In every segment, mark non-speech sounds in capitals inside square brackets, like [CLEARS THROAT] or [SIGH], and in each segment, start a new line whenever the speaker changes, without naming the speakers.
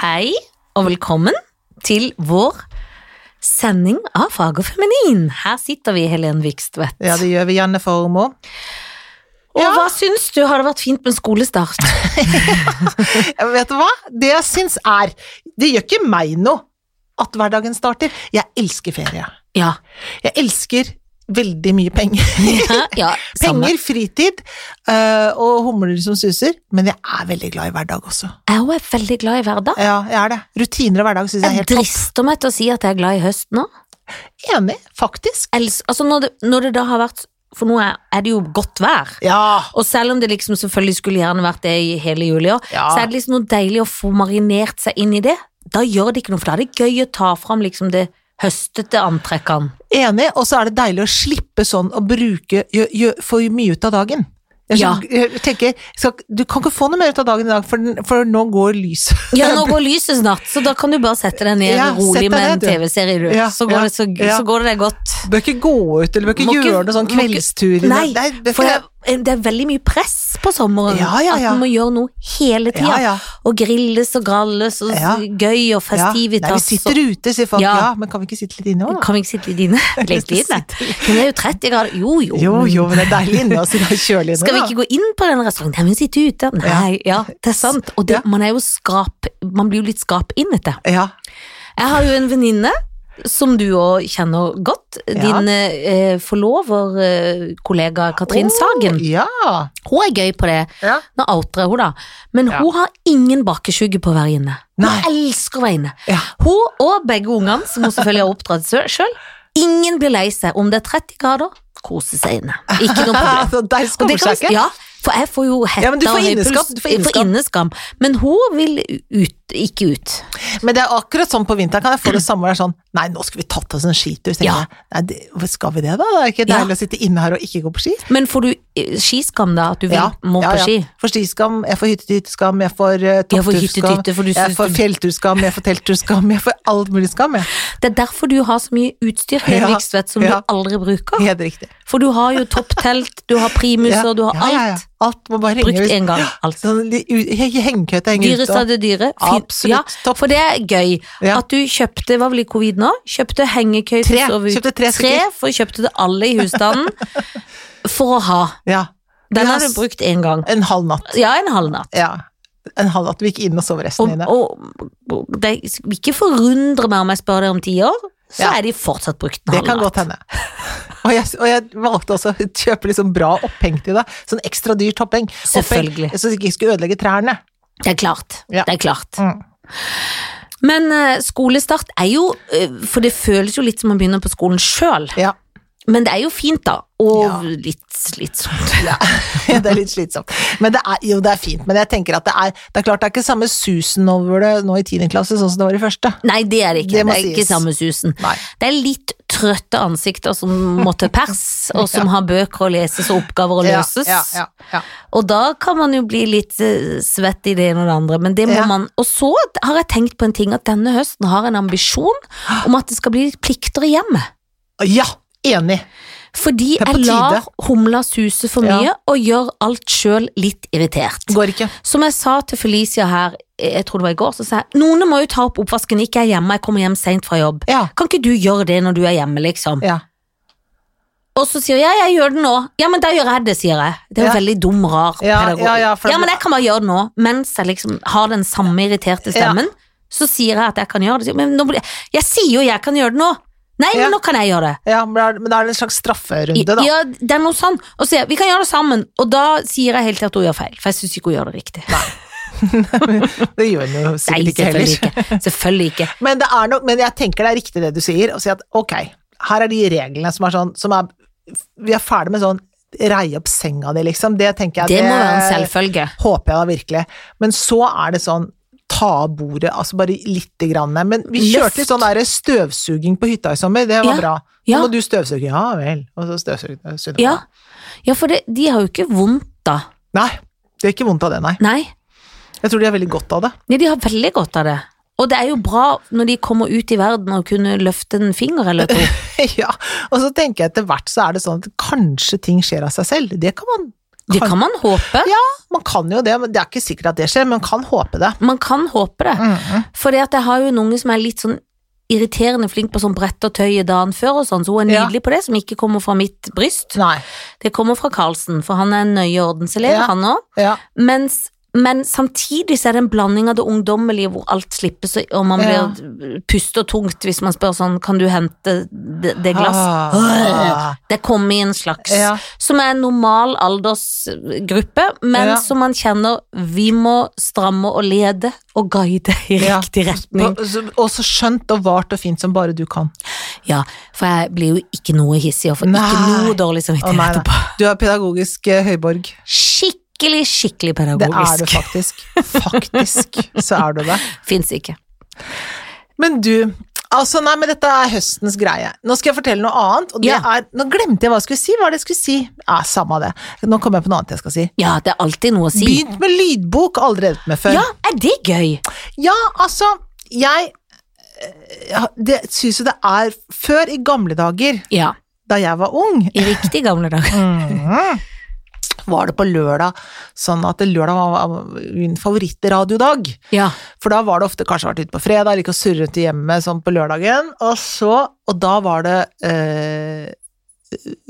Hei, og velkommen til vår sending av Fag og Feminin. Her sitter vi, Helen Vikstvedt.
Ja, det gjør vi. Janne Formoe.
Og
Ja.
hva syns du? Har det vært fint med skolestart?
[LAUGHS] Eh, Vet du hva? Det jeg syns er Det gjør ikke meg noe at hverdagen starter. Jeg elsker ferie.
Ja.
Jeg elsker veldig mye [LAUGHS] penger.
ja, ja samme.
Penger, fritid eh, og humler som suser. Men jeg er veldig glad i hverdag også.
Jeg også er veldig glad i hverdag.
Ja, jeg er det. Rutiner og hverdag syns jeg
Jeg
er helt topp.
drister meg til å si at jeg er glad i høst nå.
Enig, faktisk.
Els- Altså når det, når det da har vært For nå er, er det jo godt vær.
Ja.
Og selv om det liksom selvfølgelig skulle gjerne vært det i hele juli òg,
Ja.
så er det liksom noe deilig å få marinert seg inn i det. Da gjør det ikke noe, for da er det gøy å ta fram liksom det høstete antrekkene.
Enig, og så er det deilig å slippe sånn å bruke gjø, gjø, for mye ut av dagen. Jeg,
Ja.
skjønner- jeg tenker, skal, Du kan ikke få noe mer ut av dagen i dag, for, den- for nå går lyset.
Ja, nå går lyset snart, så da kan du bare sette deg ned
Ja,
rolig
sett deg
med en
ned, du.
TV-serie, du.
Ja,
så, går
ja,
det, så,
ja.
så går det deg godt.
Du bør ikke gå ut, eller du bør ikke
Må ikke-
gjøre noe sånn
må ikke-
kveldsturer.
Nei,
det,
For det er, det er veldig mye press på sommeren.
Ja, ja, ja.
At man må gjøre noe hele tida.
Ja, ja.
Og grilles og gralles og
Ja.
gøy og
ja. Nei, vi
festivitas.
sitter
og-
ute, sier folk.
Ja.
Ja. men kan vi ikke sitte litt inne òg, da?
Kan vi ikke sitte litt
[LAUGHS]
inne? Litt inne. Men det er jo 30 grader. Jo, jo.
Jo,
men-
jo, men det er deilig inne også. Det er kjølig inne.
Skal vi
da.
ikke gå inn på den restauranten? Nei, men sitte ute. Nei, ja, det er sant. Og det,
Ja.
man er jo skrap, man blir jo litt skrap inn etter.
Ja.
Jeg har jo en venninne som du òg kjenner godt. Din eh, forlover, eh, kollega Katrin
Å,
Sagen.
Ja.
Hun er gøy på det.
ja.
Nå outer jeg hun da. Men
Ja.
hun har ingen bakesjuge på å være inne. Hun
Nei.
elsker å være inne.
[LAUGHS] Ja.
Hun og begge ungene, som hun selvfølgelig har oppdratt sjøl, ingen blir lei seg. Om det er 30 grader, kose seg inne. Ikke noe problem.
[LAUGHS] Så Altså, der
Og
skammer
det kan-
seg ikke.
Ja, for jeg får jo hetta
Ja, men du får
og høy puls.
inneskam, du får
Jeg får
inneskam.
inneskam. Men hun vil ut, ikke ut.
Men det er akkurat sånn på vinteren kan jeg få det samme. hvor Det er sånn Nei, nå skulle vi tatt oss en skitur. Så tenker
Ja.
jeg, nei, det, hvor skal vi det, da? Det er ikke
Ja.
deilig å sitte inne her og ikke gå på ski.
Men får du eh, skiskam da, at du vil, må på ski?
For skiskam, jeg får hyttehytteskam, jeg får uh,
Ja, for
toppturskam,
hyttedytte, for du
jeg
synes
får
du-
fjellturskam, jeg får teltturskam, jeg får alt mulig skam, jeg.
Det er derfor du har så mye utstyr Helen
Ja,
Vikstvedt, som
ja.
du aldri bruker.
Helt riktig.
For du har jo topptelt, du har primuser, du har
Ja, ja, ja.
alt.
Alt må bare henge
Brukt
ut.
en gang, Altså. alt.
Sånn, de- u- he- hengekøyte henger
Dyrest av
ute.
det dyre. Fint.
Absolutt,
Ja,
topp.
for det er gøy.
Ja.
At du kjøpte, hva var det i covid nå? Kjøpte hengekøy til
Tre.
å sove ut.
Kjøpte tre stykker.
for kjøpte det alle i
[LAUGHS]
husstanden for å ha.
og- Ja.
Den
Vi
har
har
du brukt én gang.
En halv natt.
Ja, en halv natt.
Ja. En halv natt. Vi gikk inn og sov resten
Og,
inne.
og og det vil ikke forundre meg om jeg spør deg om ti år, så
Ja.
er de fortsatt brukt en
Det
halv
kan
natt.
godt hende. Og jeg, og jeg valgte også å kjøpe liksom bra oppheng til det. Sånn ekstra dyrt oppheng.
Selvfølgelig.
Oppheng, Så det ikke skulle ødelegge trærne.
Det er klart.
Ja.
Det er klart.
Mm.
Men eh, skolestart er jo eh, For det føles jo litt som å begynne på skolen sjøl.
Ja.
Men det er jo fint, da. Og
Ja.
litt sånn slitsomt.
[LAUGHS] det er litt slitsomt. Men det er, jo, det er fint. Men jeg tenker at det er Det er klart det er ikke samme susen over det nå i tiende klasse sånn som det var i første.
Nei, det er det ikke. Det,
Det må
er ikke
sies.
samme susen.
Nei.
Det er litt trøtte ansikter som må til
[LAUGHS]
pers, og som har bøker å leses og oppgaver å løses.
Ja, ja, ja,
Og da kan man jo bli litt eh, svett i det ene og det andre, men det må
Ja.
man. Og så har jeg tenkt på en ting, at denne høsten har en
[GASPS]
ambisjon om at det skal bli litt plikter i hjemmet.
ja. ja enig.
Fordi
Det er på
jeg lar
tide.
humla suse for
Ja.
mye, og gjør alt sjøl litt irritert.
Går ikke.
Som jeg sa til Felicia her, eh, jeg tror det var i går, så sa jeg noen må jo ta opp oppvasken, ikke jeg er hjemme, jeg kommer hjem seint fra jobb.
Ja.
Kan ikke du gjøre det når du er hjemme, liksom?
ja.
Og så sier hun ja, jeg gjør det nå. Ja, men da gjør jeg det, sier jeg. Det er jo
Ja.
veldig dum, rar
Ja,
pedagog.
ja, ja, for det-
men jeg kan bare gjøre det nå, mens jeg liksom har den samme irriterte stemmen. Så sier jeg at jeg kan gjøre det. Men nå blir... jeg sier jo jeg kan gjøre det nå. Nei,
Ja.
men nå kan jeg gjøre det.
ja men, da er, men da er det en slags
I-
strafferunde, da.
Ja, det er noe sånn. Og så sier jeg vi kan gjøre det sammen. Og da sier jeg helt til at hun gjør feil, for jeg syns ikke hun gjør det riktig.
[LAUGHS] Det gjør den jo
Nei,
sikkert ikke
selvfølgelig
heller.
ikke. Selvfølgelig ikke.
Men, det er nok, men jeg tenker det er riktig det du sier, å si at ok, her er de reglene som er sånn som er, Vi er ferdig med sånn reie opp senga di, liksom. Det tenker jeg
Det må være en selvfølge.
Håper jeg da virkelig. Men så er det sånn ta av bordet, altså bare lite grann. Men vi
Løft.
kjørte litt sånn der støvsuging på hytta i sommer, det var
Ja,
bra. Så
ja.
må du støvsuge, ja vel. Og så støvsuge Sunniva.
Ja, ja for det, de har jo ikke vondt da.
Nei, det er ikke vondt av det, nei.
Nei.
Jeg tror de har veldig godt av det.
Ja, de har veldig godt av det. Og det er jo bra når de kommer ut i verden og kunne løfte en finger eller to.
[LAUGHS] ja. Og så tenker jeg etter hvert så er det sånn at kanskje ting skjer av seg selv. Det kan man
Det kan man håpe.
Ja, man kan jo det, men det er ikke sikkert at det skjer, men man kan håpe det.
Man kan håpe det.
Mhm.
For jeg har jo en unge som er litt sånn irriterende flink på sånn brett og tøye dagen før og sånn, så hun er
Ja.
nydelig på det, som ikke kommer fra mitt bryst.
Nei.
Det kommer fra Karlsen, for han er en nøye ordenselev,
Ja.
han òg.
Ja.
Mens men samtidig så er det en blanding av det ungdommelige hvor alt slippes, og man
Ja.
blir puster tungt hvis man spør sånn, kan du hente det, det glass?
Ah.
Det kommer i en slags
Ja.
Som er en normal aldersgruppe, men
Ja.
som man kjenner vi må stramme og lede og guide i
Ja.
riktig retning.
Og så- Og så skjønt og vart og fint som bare du kan.
Ja, for jeg blir jo ikke noe hissig og får ikke
Nei.
noe dårlig
Å, nei,
samvittighet
nei.
etterpå.
Du er pedagogisk eh, høyborg.
Skikkelig, skikkelig
Det er du
pedagogisk.
faktisk. Faktisk så er du det.
Fins ikke.
Men du, altså nei, men dette er høstens greie. Nå skal jeg fortelle noe annet, og det
Ja.
er Nå glemte jeg hva jeg skulle si, hva er det jeg skulle si? Ja, samme det. Nå kommer jeg på noe annet jeg skal si.
Ja, det er alltid noe å si.
Begynt med lydbok, aldri drevet med før.
Ja, er det gøy?
Ja, altså, jeg eh, det syns jo det er Før, i gamle dager,
Ja,
da jeg var ung,
i riktig gamle
[LAUGHS]
dager.
var det på lørdag sånn at lørdag var min favorittradiodag.
Ja,
For da var det ofte kanskje vært ute på fredag, eller ikke å surre rundt i hjemmet sånn på lørdagen. Og så, og da var det eh,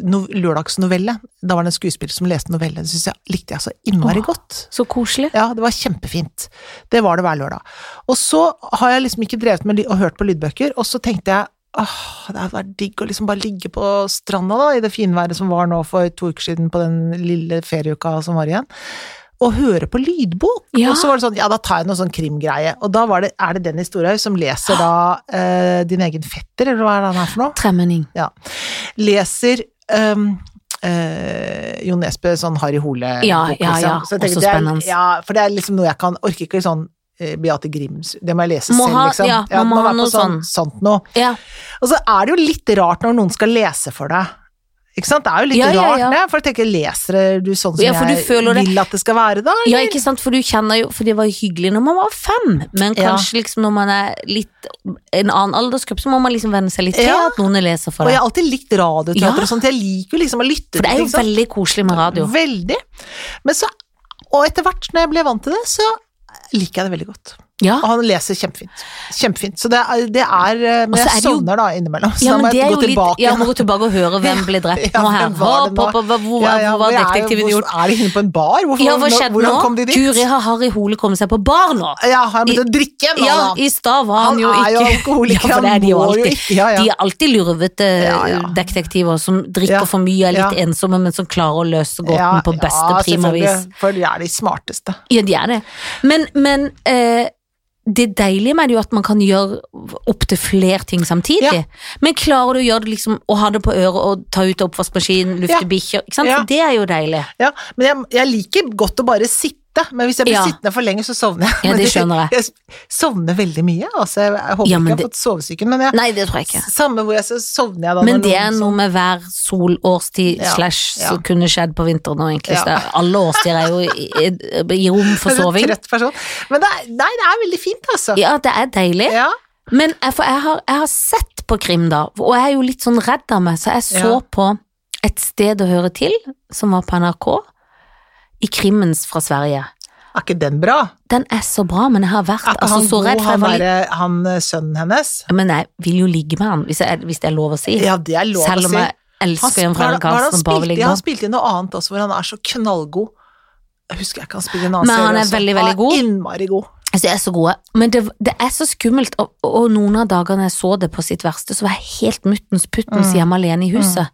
no, lørdagsnovelle. Da var det en skuespiller som leste novelle. Det synes jeg likte jeg så innmari
Åh.
godt.
så koselig.
Ja, det var kjempefint. Det var det hver lørdag. Og så har jeg liksom ikke drevet med ly- og hørt på lydbøker, og så tenkte jeg åh, det hadde vært digg å liksom bare ligge på stranda da, i det finværet som var nå for to uker siden på den lille ferieuka som var igjen. Og høre på lydbok.
Ja.
Og så var det sånn, ja da tar jeg noe sånn krimgreie. Og da var det, er det Dennis Storhaug som leser da eh, din egen fetter, eller hva er det han er for noe?
Tremenning.
Ja. Leser ehm, eh, Jo Nesbø, sånn Harry Hole-bok,
Ja, ja, ja.
liksom. Så jeg tenker,
Også
det er-
spennende.
Ja, for det er liksom noe jeg kan Orker ikke sånn eh, Beate Grims Det må jeg lese
Må
selv,
ha-
liksom.
ja, man må ha
være på
noe
sånn, sånt noe.
Ja,
Og så er det jo litt rart når noen skal lese for deg. Ikke sant? Det er jo litt
Ja, ja,
rart,
ja.
det. For jeg tenker, leser du sånn som
Ja, for du
jeg
føler det.
vil at det skal være, da?
ja ikke sant, for du kjenner jo For det var jo hyggelig når man var fem, men
Ja.
kanskje liksom når man er litt en annen aldersgruppe, så må man liksom venne seg litt til
Ja.
at noen leser for
Og
deg.
jeg har alltid likt radioteater
Ja.
og sånt. Jeg liker jo liksom å lytte
For det er jo veldig koselig med radio.
Veldig. Men så, og etter hvert når jeg ble vant til det, så liker jeg det veldig godt.
Ja.
Og han leser kjempefint. Kjempefint. Så det er, det er eh,
Og
Men
så er
jeg
det jo-
sovner da innimellom, så
Ja,
da
men
må
det er
jeg
jo
gå
litt
tilbake.
Ja, må gå tilbake og høre hvem ble drept
[LAUGHS] Ja,
nå her.
hvem var det
Hopp,
nå?
hopp, hopp, Hvor, hvor,
Ja, ja,
var
hvor er-
detektiven gjort?
Hvorfor er de inne på en bar? Hvorfor,
Ja, hva
nå-
skjedde
hvordan
nå?
kom de dit?
Guri har Harry Hole kommet seg på bar nå.
Ja, har han begynt å drikke nå,
Ja,
da?
i stad var han,
Han
jo
er jo
ikke [LAUGHS]
alkoholiker,
Ja, for det
han
er de jo
må jo
alltid.
ikke- ja, ja.
De er alltid lurvete eh,
Ja, ja.
detektiver som drikker
Ja,
for mye, er litt
ja.
ensomme, men som klarer å løse gåten
Ja,
på beste
ja,
primavis.
selvfølgelig, For de er de smarteste.
Ja, de er det. Men, men eh, det deilige med det er jo at man kan gjøre opptil flere ting samtidig.
Ja.
Men klarer du å gjøre det liksom, å ha det på øret og ta ut av oppvaskmaskinen, lufte
Ja.
bikkjer, ikke sant?
Ja.
Det er jo deilig.
Ja, men jeg, jeg liker godt å bare sitte, men hvis jeg blir
Ja.
sittende for lenge, så sovner [LAUGHS] jeg.
Ja,
Men
det skjønner jeg.
Jeg sovner veldig mye, altså. Jeg, jeg håper
Ja, men
ikke jeg har fått sovesyken, men jeg,
Nei, det tror jeg ikke.
samme hvor jeg så sovner jeg da.
Men
når
det
noen
er
sover.
noe med hver sol, årstid,
Ja,
slash,
ja.
som kunne skjedd på vinteren og egentlig.
Ja.
så det er- Alle årstider er jo i, i, i rom for
[LAUGHS] Jeg er en
soving.
Trøtt person. Men det er, nei, det er veldig fint, altså.
Ja, det er deilig.
Ja.
Men jeg, for jeg, har, jeg har sett på krim, da, og jeg er jo litt sånn redd av meg, så jeg så
Ja.
på Et sted å høre til, som var på NRK, i krimmens fra Sverige.
Er ikke den bra?
Den er så bra, men jeg har vært
Er ikke
altså,
han
så redd. For jeg
god, han,
var litt,
derre- han eh, sønnen hennes?
men jeg vil jo ligge med han, hvis, jeg, hvis det er lov å si.
Ja, det er lov
Selv
å
om
si.
jeg elsker
Han-
Jan
hva er
Fredrik
det- hva er det
Hansen og
han
bare vil
spilte i?
ligge med
Han
han.
spilte i noe annet også, hvor han er så knallgod. Jeg husker jeg ikke han spiller en annen
Men han
serie
er
også.
veldig, veldig god.
Han er innmari god.
Altså, de er så gode. Men det, det er så skummelt, og, og noen av dagene jeg så det på sitt verste, så var jeg helt muttens puttens
Mm.
hjemme alene i huset.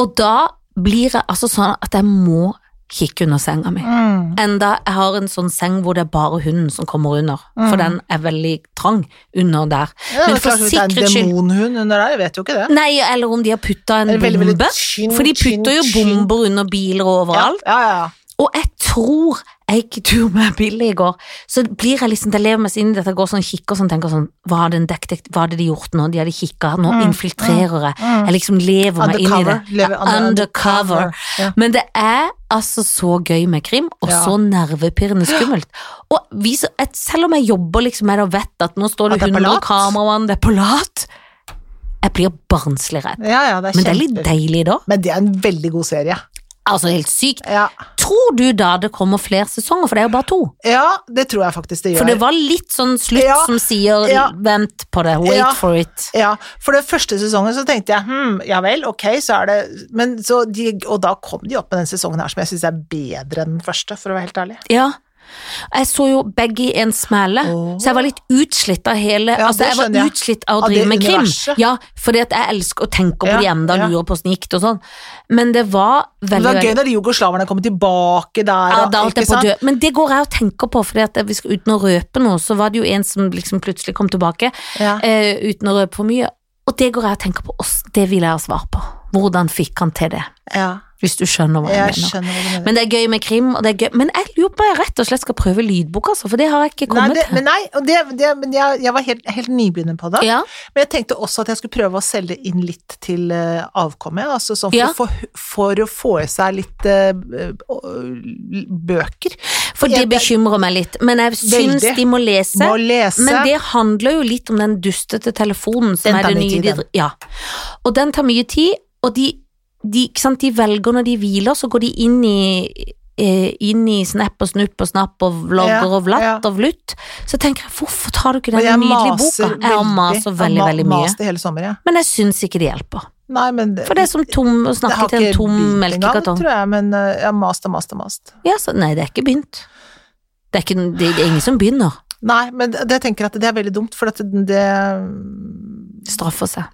Og da blir jeg altså sånn at jeg må kikke under senga mi.
Mm.
Enda jeg har en sånn seng hvor det er bare hunden som kommer under, for den er veldig trang under der.
Mm. Ja,
Men
det er
for
klart, hvis det er
sikkerhets skyld-
En demonhund under der, jeg vet jo ikke det.
Nei, eller om de har putta en
Det er veldig, veldig
bombe.
tynn,
For de
tynn,
putter jo
tynn.
bomber under biler og
Ja,
overalt.
ja, ja.
Og jeg tror jeg gikk tur med Billy i går, så blir jeg liksom, jeg lever meg inn i dette, går sånn kikker sånn, tenker sånn, hva hadde, en detektiv, hva hadde de gjort nå, de hadde kikket, nå infiltrerer jeg, jeg liksom lever meg inn i det.
Mm, Undercover, lever
Ja,
under-
undercover.
Ja.
Men det er altså så gøy med krim, og
Ja.
så nervepirrende skummelt. Og vi, så- et, selv om jeg jobber liksom, jeg da vet at nå står det
At det er på
100
lat?
kameramann, det er på lat, jeg blir barnslig redd.
Ja, ja, det er
Men det er litt
kjempe-
deilig da.
Men det er en veldig god serie.
Altså helt sykt.
Ja.
Tror du da det kommer flere sesonger, for det er jo bare to?
ja, det tror jeg faktisk det gjør.
For det var litt sånn slutt
Ja.
som sier
Ja.
vent på det, wait
Ja.
for it.
Ja, for den første sesongen så tenkte jeg hm, ja vel, ok, så er det Men så de, Og da kom de opp med den sesongen her som jeg syns er bedre enn den første, for å være helt ærlig.
Ja. Jeg så jo begge i en smelle,
Åh.
så jeg var litt utslitt av hele
Ja,
Altså,
det
jeg var
skjønner jeg.
utslitt av å
Av det
drive med krim.
universet.
Ja, fordi at jeg elsker å tenke på
Ja,
det enda,
ja.
lure på åssen gikk det og sånn. Men det var
Men
veldig
det var gøy når de jugoslaverne kom tilbake der.
Ja,
og-
da holdt jeg
ikke
på å
sant?
dø. Men det går jeg og tenker på, for uten å røpe noe, så var det jo en som liksom plutselig kom tilbake
Ja.
eh, uten å røpe for mye. Og det går jeg og tenker på, oss, det vil jeg ha svar på. Hvordan fikk han til det?
ja,
Hvis du skjønner hva jeg,
jeg
mener.
skjønner hva du mener.
Men det er gøy med krim, og det er gøy. Men jeg lurer på om jeg rett og slett skal prøve lydbok, altså, for det har jeg ikke
Nei,
kommet
det,
til.
men nei, og det, det, men jeg, jeg var helt, helt nybegynner på det.
Ja,
Men jeg tenkte også at jeg skulle prøve å selge inn litt til eh, avkommet, altså sånn for,
Ja.
å få, for å få i seg litt eh, b- bøker.
for det
Jeg-
bekymrer meg litt. Men jeg syns
Veldig.
de må lese.
Må lese.
Men det handler jo litt om den dustete telefonen som
Den
er
tar
det
mye
nye.
tid,
de- ja. Og den tar mye tid, og de, de, ikke sant, de velger når de hviler, så går de inn i eh, inn i snap og snupp og snapp og vlogger
Ja,
og vlatt
ja.
og vlutt. Så tenker jeg, hvorfor tar du ikke
Og
denne
jeg
nydelige boka?
maser
Jeg har
veldig.
mast
Jeg
veldig,
ma-
veldig mye.
Maste hele sommeren, jeg.
Men jeg syns ikke det hjelper.
Nei, men det,
For det er som tom, å
det
snakke
har
til en
ikke
tom
begynt engang,
melkekartong.
tror jeg, men eh, jeg har mast og mast og mast.
Ja, så, nei, det er ikke begynt. Det er, ikke, det det er ingen som begynner.
Nei, men det, det tenker jeg at det er veldig dumt, for at det, det
Straffer seg.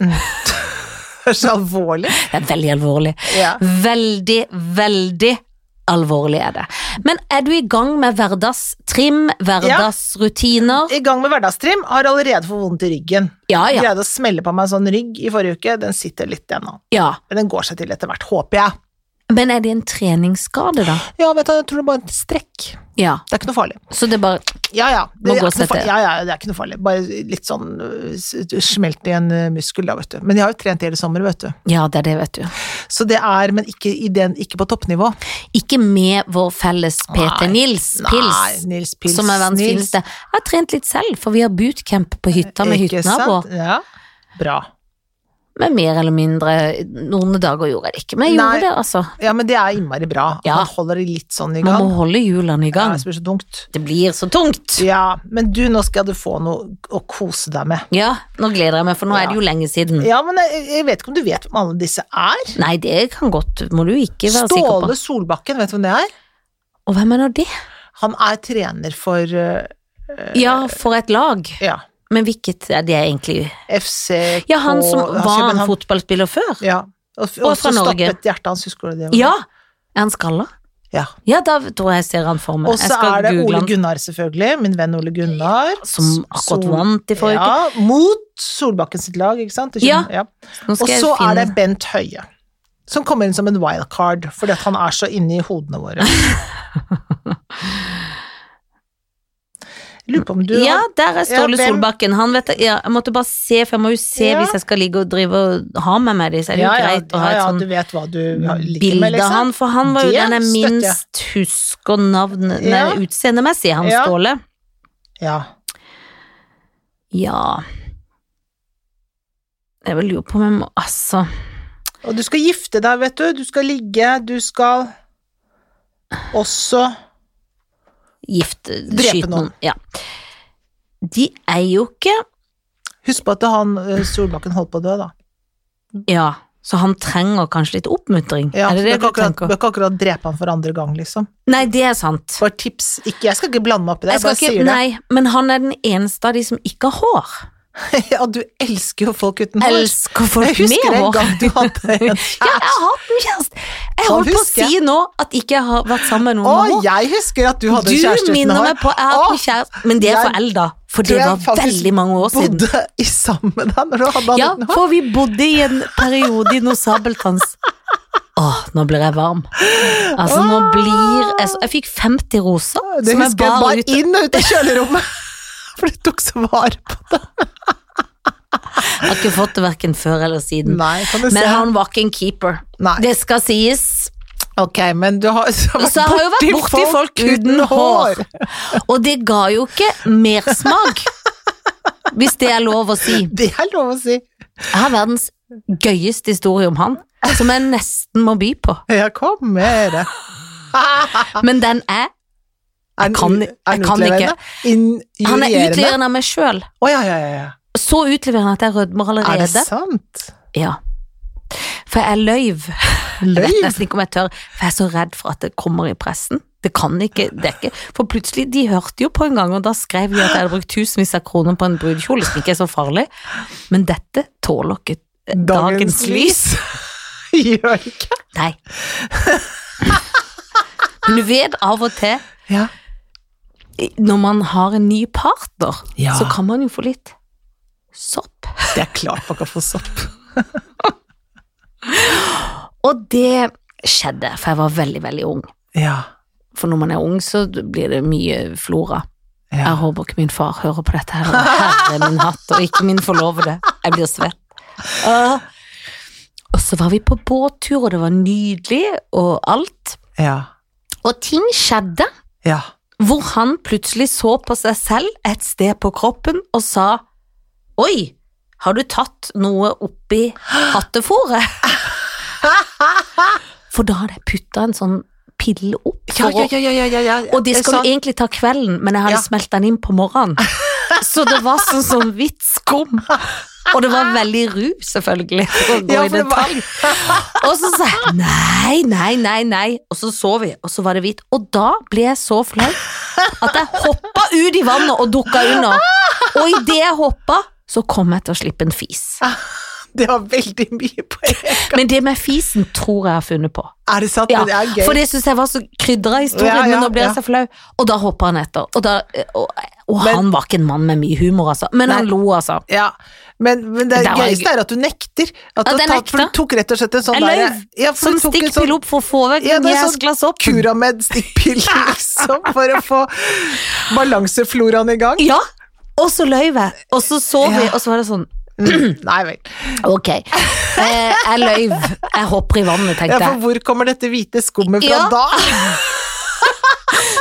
er så alvorlig.
Det er veldig alvorlig. [LAUGHS]
Ja.
Veldig, veldig alvorlig er det. Men er du i gang med hverdagstrim, hverdagsrutiner?
I gang med hverdagstrim, har allerede fått vondt i ryggen.
Ja, ja,
Greide å smelle på meg en sånn rygg i forrige uke, den sitter litt igjen nå.
ja.
Men den går seg til etter hvert, håper jeg.
Men er det en treningsskade, da?
Ja, vet du, jeg tror det bare er en strekk.
Ja.
Det er ikke noe farlig.
Så det er bare
Ja, ja.
Må gå
Det, er
og
ikke noe
sette.
farlig. ja, ja, det er ikke noe farlig. Bare litt sånn øh, s- smelt i en øh, muskel, da, vet du. Men jeg har jo trent hele sommer, vet du.
Ja, det er det, vet du.
Så det er, men ikke, i den, ikke på toppnivå.
Ikke med vår felles PT
Nei.
Nils
Nei,
Pils.
Nils Pils.
Som er verdens
Nils.
fineste. Jeg har trent litt selv, for vi har bootcamp på hytta med
Ikke sant?
hyttenabo.
Ja. Bra.
Men mer eller mindre, noen dager gjorde jeg det ikke, men jeg
Nei.
gjorde det, altså.
Ja, men det er innmari bra.
Ja.
Man holder det litt sånn i
Man
gang.
må holde hjulene i
Ja,
gang.
det blir så tungt.
Det blir så tungt!
Ja, men du, nå skal du få noe å kose deg med.
Ja, nå gleder jeg meg, for nå er det jo lenge siden.
Ja, men jeg, jeg vet ikke om du vet hvem alle disse er?
Nei, det kan godt, må du ikke være sikker på.
Ståle Solbakken, vet du hvem det er?
Og hvem er nå det?
Han er trener for eh,
Ja, for et lag.
ja,
Men hvilket er det egentlig?
FCK
Ja, han som
altså,
var
men
en
han-
fotballspiller før?
Ja. Og, og,
Og fra
så
Norge.
stoppet hjertet hans, husker du det?
Ja! Er han skalla?
Ja.
Ja, da tror jeg jeg ser han for meg.
Og
Jeg
så
skal
er det
google
Ole
han,
Gunnar, selvfølgelig. Min venn Ole Gunnar.
Som akkurat
Sol-
vant i forrige uke.
Ja, mot Solbakken sitt lag, ikke sant? Det
Ja.
skjønner- ja.
Nå
Og
skal jeg
så er
finne
det Bent Høie, som kommer inn som en wildcard, fordi at han er så inne i
[LAUGHS]
hodene våre. Lurer på om du
Ja,
har
der er Ståle
Ja, hvem-
Solbakken. Han vet, ja, jeg måtte bare se, for jeg må jo se
Ja.
hvis jeg skal ligge og drive og ha med meg de, så er det jo
ja, ja,
greit å ha
ja,
et
ja,
sånn
du vet hva du har- ligger med,
bildet av
liksom.
han, for han var jo
Det
den jeg
støtter jeg.
minst husker navn nei,
Ja.
utseendemessig, han
Ja.
Ståle.
Ja.
Ja Jeg vil lure på om jeg må Altså,
Og du skal gifte deg, vet du. Du skal ligge, du skal også
gifte
Drepe
eh, skyte
noen.
Ja. De er jo ikke
Husk på at han eh, Solbakken holdt på å dø, da.
Ja, så han trenger kanskje litt oppmuntring?
Ja,
er det det du
bør ikke akkurat,
tenker?
bør ikke akkurat drepe han for andre gang, liksom.
Nei, det er sant.
Bare tips. Ikke, jeg skal ikke blande meg opp i det,
Jeg
jeg
skal
bare
ikke,
sier det.
nei, men han er den eneste av de som ikke har hår.
[LAUGHS] Ja, du elsker jo folk uten hår.
Elsker
Jeg
folk med
husker en
hår.
gang du hadde en
[LAUGHS] Ja, jeg
kjæreste.
har hatt en kjæreste. Jeg
Han
holdt på å
husker jeg.
si nå at ikke jeg har vært sammen med
Å,
noen med hår.
jeg husker at du hadde en
Du
kjæreste uten
minner
hår.
meg på jeg har hatt en kjæreste, men det er
jeg
forelda, for det var veldig mange år siden.
Bodde i sammen med deg når du hadde han
Ja,
uten hår.
for vi bodde i en periode i noe sabeltanns. Åh, nå blir jeg varm. Altså, nå blir jeg så Jeg fikk 50 roser
Det
som jeg
husker jeg
bar
bare
ut.
inn og ut av kjølerommet. [LAUGHS] For du tok så vare på det.
Jeg har ikke fått det verken før eller siden.
Nei, kan du
Men
se.
han var ikke en keeper.
Nei.
Det skal sies.
Ok, men du har, så
Så jeg har jo vært borti folk uten hår. Og det ga jo ikke mersmak, hvis det er lov å si.
Det er lov å si.
Jeg har verdens gøyeste historie om han. som jeg nesten må by på.
Jeg kommer!
[LAUGHS] Men den er
Er den
kan-
u-
jeg
er den
kan ikke.
utleverende? Injurierende?
Han er utleverende av meg sjøl.
Å ja, ja, ja, ja.
Så utleverende at jeg rødmer allerede.
Er det sant?
Ja. For jeg løyv. [LAUGHS] Jeg vet
Løy?
nesten ikke om jeg tør, for jeg er så redd for at det kommer i pressen. Det kan ikke dekke. For plutselig, de hørte jo på en gang, og da skrev de at jeg hadde brukt tusenvis av kroner på en brudekjole som ikke er så farlig. Men dette tåler ikke dagens, dagens lys.
[LAUGHS] Gjør ikke?
Nei. Men du vet av og til,
Ja.
når man har en ny partner,
Ja.
så kan man jo få litt sopp.
Det er klart man kan få sopp.
Og det skjedde, for jeg var veldig, veldig ung.
Ja.
For når man er ung, så blir det mye flora.
ja.
Jeg håper ikke min far hører på dette her. og Herre min hatt, og ikke min forlovede. Jeg blir svett. Åh. Og så var vi på båttur, og det var nydelig, og alt.
Ja.
Og ting skjedde
ja.
hvor han plutselig så på seg selv et sted på kroppen og sa Oi, har du tatt noe oppi hattefòret?
[LAUGHS]
For da hadde jeg putta en sånn pille opp.
Ja,
for å-
ja, ja, ja, ja, ja.
og de skal
Sånn.
jo egentlig ta kvelden, men jeg hadde
Ja.
smelt den inn på
[LAUGHS]
morgenen. Så det var sånn som hvitt skum. Og det var veldig ru, selvfølgelig. For å gå
Ja,
i
for det var-
detalj. Og så sa jeg nei, nei, nei, nei. Og så så vi, og så var det hvitt. Og da ble jeg så flau at jeg hoppa ut i vannet og dukka under. Og idet jeg hoppa, så kom jeg til å slippe en fis.
Det var veldig mye på en gang.
Men det med fisen tror jeg har funnet på.
Er det sant?
Ja,
Men det er gøy.
for det syns jeg var så krydra i historien,
Ja,
men
ja,
nå blir jeg
ja.
så flau. Og da hoppa han etter. Og, da, og, og
Men-
han var ikke en mann med mye humor, altså. Men
Nei.
han lo, altså.
Ja, men, men det
Der var jeg-
gøyeste er at du nekter. At
Ja,
du
det
har tatt, for du
nekta.
tok rett og slett en sånn
Jeg
der-
løy.
Ja, for
Som
du tok en
stikkpil
sånn-
opp for å få vekk
Ja, det er sånn
gjæsglass opp. [LAUGHS]
Curamed-stikkpille, liksom, for å få balansefloraen
[CLEARS THROAT]
i gang.
Ja, og så løy jeg. Og så så vi,
Ja.
og så var det sånn
Nei vel.
Ok, eh, jeg løy. Jeg hopper i vannet,
Ja,
tenkte
for
jeg.
hvor kommer dette hvite skummet fra
Ja.
da?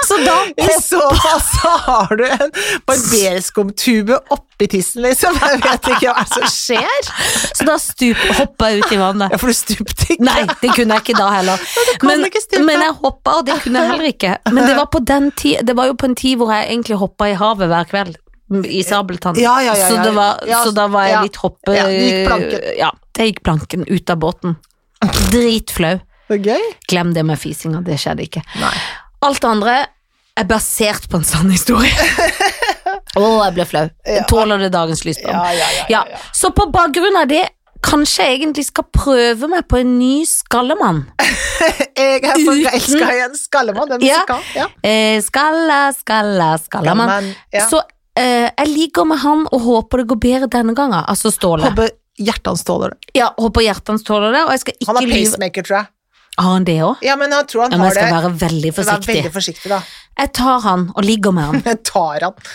Så da
I så fall så har du en barberskumtube oppi tissen, liksom. Jeg vet ikke hva som skjer.
[LAUGHS] Så da stup, hoppa jeg ut i vannet.
Ja, for du stupte ikke.
Nei, det kunne jeg ikke da
[LAUGHS]
heller.
kan
men,
du ikke stupe.
men jeg hoppa, og det kunne jeg heller ikke. Men det var, på den ti, det var jo på en tid hvor jeg egentlig hoppa i havet hver kveld. m, I sabeltann.
Ja, ja, ja,
så,
ja.
det var,
Ja,
så da var jeg
ja.
litt hoppe...
Ja, det gikk planken.
Ja, det gikk planken ut av båten. Dritflau.
Det er gøy.
Glem det med fisinga, det skjedde ikke.
Nei.
Alt det andre er basert på en sann
[LAUGHS]
historie. Å, jeg ble flau. Jeg Tåler det dagens lys?
Ja, ja, ja. ja,
Ja, så på bakgrunn av det, kanskje jeg egentlig skal prøve meg på en ny skallemann. [LAUGHS]
Jeg er
Uten-
forelska i en skallemann, det er
Ja.
musikal. Ja.
Eh, skalla, skalla, skallamann.
Skallemann, ja.
Så eh, jeg ligger med han og håper det går bedre denne gangen. Altså Ståle.
Håper hjertet hans tåler det.
Ja, håper hjertet hans tåler det, og jeg skal
Han
ikke
har
lyve.
pacemaker, tror jeg.
Har han det òg?
Ja, men jeg tror han
Ja, men
har
jeg skal
det.
være veldig
Men Vær
forsiktig.
veldig forsiktig, da. [LAUGHS]
Jeg tar han og ligger med han.
Jeg tar han.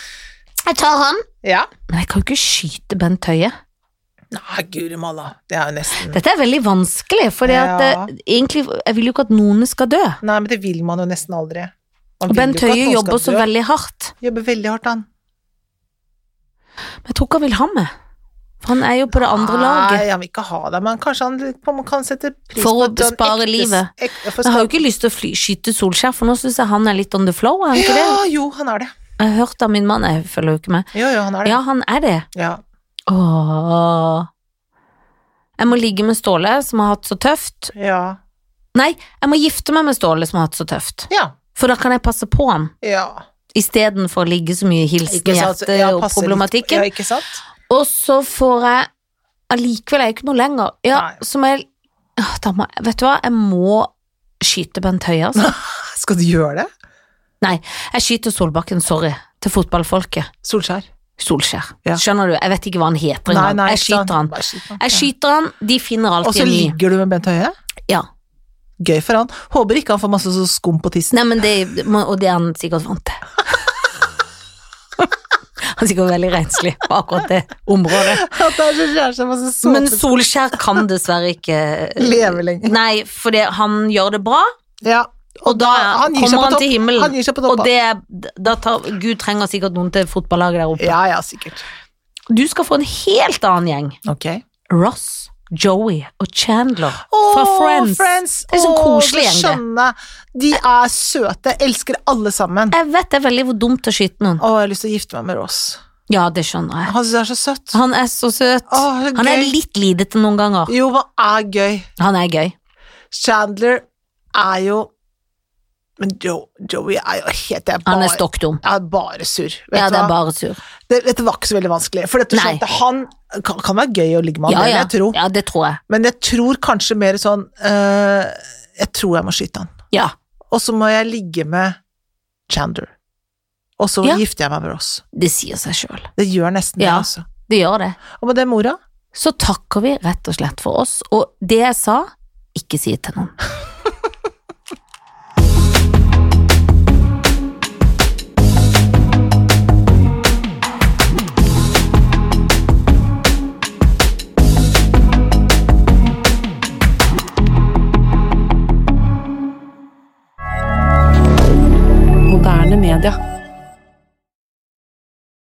Jeg tar han.
Ja.
Men jeg kan jo ikke skyte Bent Høie.
Nei, guri malla. Det er jo nesten
Dette er veldig vanskelig, for
Ja.
egentlig jeg vil jo ikke at noen skal dø.
Nei, men det vil man jo nesten aldri. Man
Og
vil
Bent
jo ikke at
Høie
noen
jobber så
skal dø.
veldig hardt.
Jobber veldig hardt, han.
Men jeg tror ikke han vil ha meg. For han er jo på det andre laget.
Nei, han vil ikke ha det, men kanskje han man kan sette pris
For
på
å
at han
spare
ektes-
livet.
Ek,
Jeg har
for skal-
jo ikke lyst til å fly, skyte Solskjær, for nå syns jeg han er litt on the flow. Er han ikke det?
Ja, jo, han er det.
Jeg har hørt av min mann, jeg følger jo ikke med.
Jo, jo, han er det.
Ja, han er det.
Ja.
Åh. Jeg må ligge med Ståle, som har hatt så tøft.
Ja.
Nei, jeg må gifte meg med Ståle, som har hatt så tøft.
ja.
For da kan jeg passe på han,
ja.
istedenfor å ligge så mye i hilsen,
Så
hjerte
jeg
og
passer litt-
problematikken.
Ja, ikke sant?
Og så får jeg Allikevel er jeg ikke noe lenger. Ja,
Nei.
som jeg Åh, da må, jeg- Vet du hva, jeg må skyte Bent Høie, altså.
[LAUGHS] Skal du gjøre det?
Nei, jeg skyter Solbakken, sorry, til fotballfolket.
Solskjær.
Solskjær.
Ja.
Skjønner du? Jeg vet ikke hva han heter
Nei,
engang.
nei,
Jeg
ikke sant.
skyter han.
Bare skyt han.
Jeg
Ja.
skyter han, de finner
Og
alltid
så
en ny.
ligger du med Bent Høie?
Ja.
Gøy for han. Håper ikke han får masse sånn skum på tissen.
Nei, men det, må- og det er han sikkert vant
[LAUGHS]
til. Han er sikkert veldig renslig på akkurat det området.
[LAUGHS] At det er så kjæreste masse sånn såpe.
Men Solskjær
[LAUGHS]
kan dessverre ikke
Leve lenge.
Nei, for det, han gjør det bra,
Ja.
og, da
han gir seg
kommer
på
han
topp.
til himmelen.
Han gir seg på topp.
og det, er- da tar, Gud trenger sikkert noen til fotballaget der oppe.
Ja, ja, sikkert.
Du skal få en helt annen gjeng.
Ok.
Ross, Joey og Chandler
Åh,
fra Friends. Det er sånn
Åh,
koselig gjeng,
så
det.
skjønner jeg. De er søte. Elsker alle sammen.
Jeg vet det er veldig hvor dumt å skyte noen.
Å, jeg har lyst til å gifte meg med Ross.
Ja, det skjønner jeg.
Han syns jeg er så søt.
Han er så søt.
Åh, det er
Han er
gøy.
litt lidete noen ganger.
Jo, han er gøy.
Han er gøy.
Chandler er jo Men jo, Joey er jo helt det er bare,
Han er stokk dum.
er bare surr. Vet
Ja,
du
det er
hva?
bare sur.
Det, dette var ikke så veldig vanskelig. For dette
Nei.
skjønte han kan, kan være gøy å ligge med
Ja,
han, det vil
ja.
jeg tro.
ja, det tror jeg.
Men jeg tror kanskje mer sånn eh, Jeg tror jeg må skyte han.
Ja,
Og så må jeg ligge med Chandler. Og så
Ja.
gifter jeg meg med Ross.
det sier seg sjøl.
Det gjør nesten
Ja.
det, altså.
Det gjør det.
Og med det, mora
Så takker vi rett og slett for oss, og det jeg sa, ikke si det til noen.
Moderne media.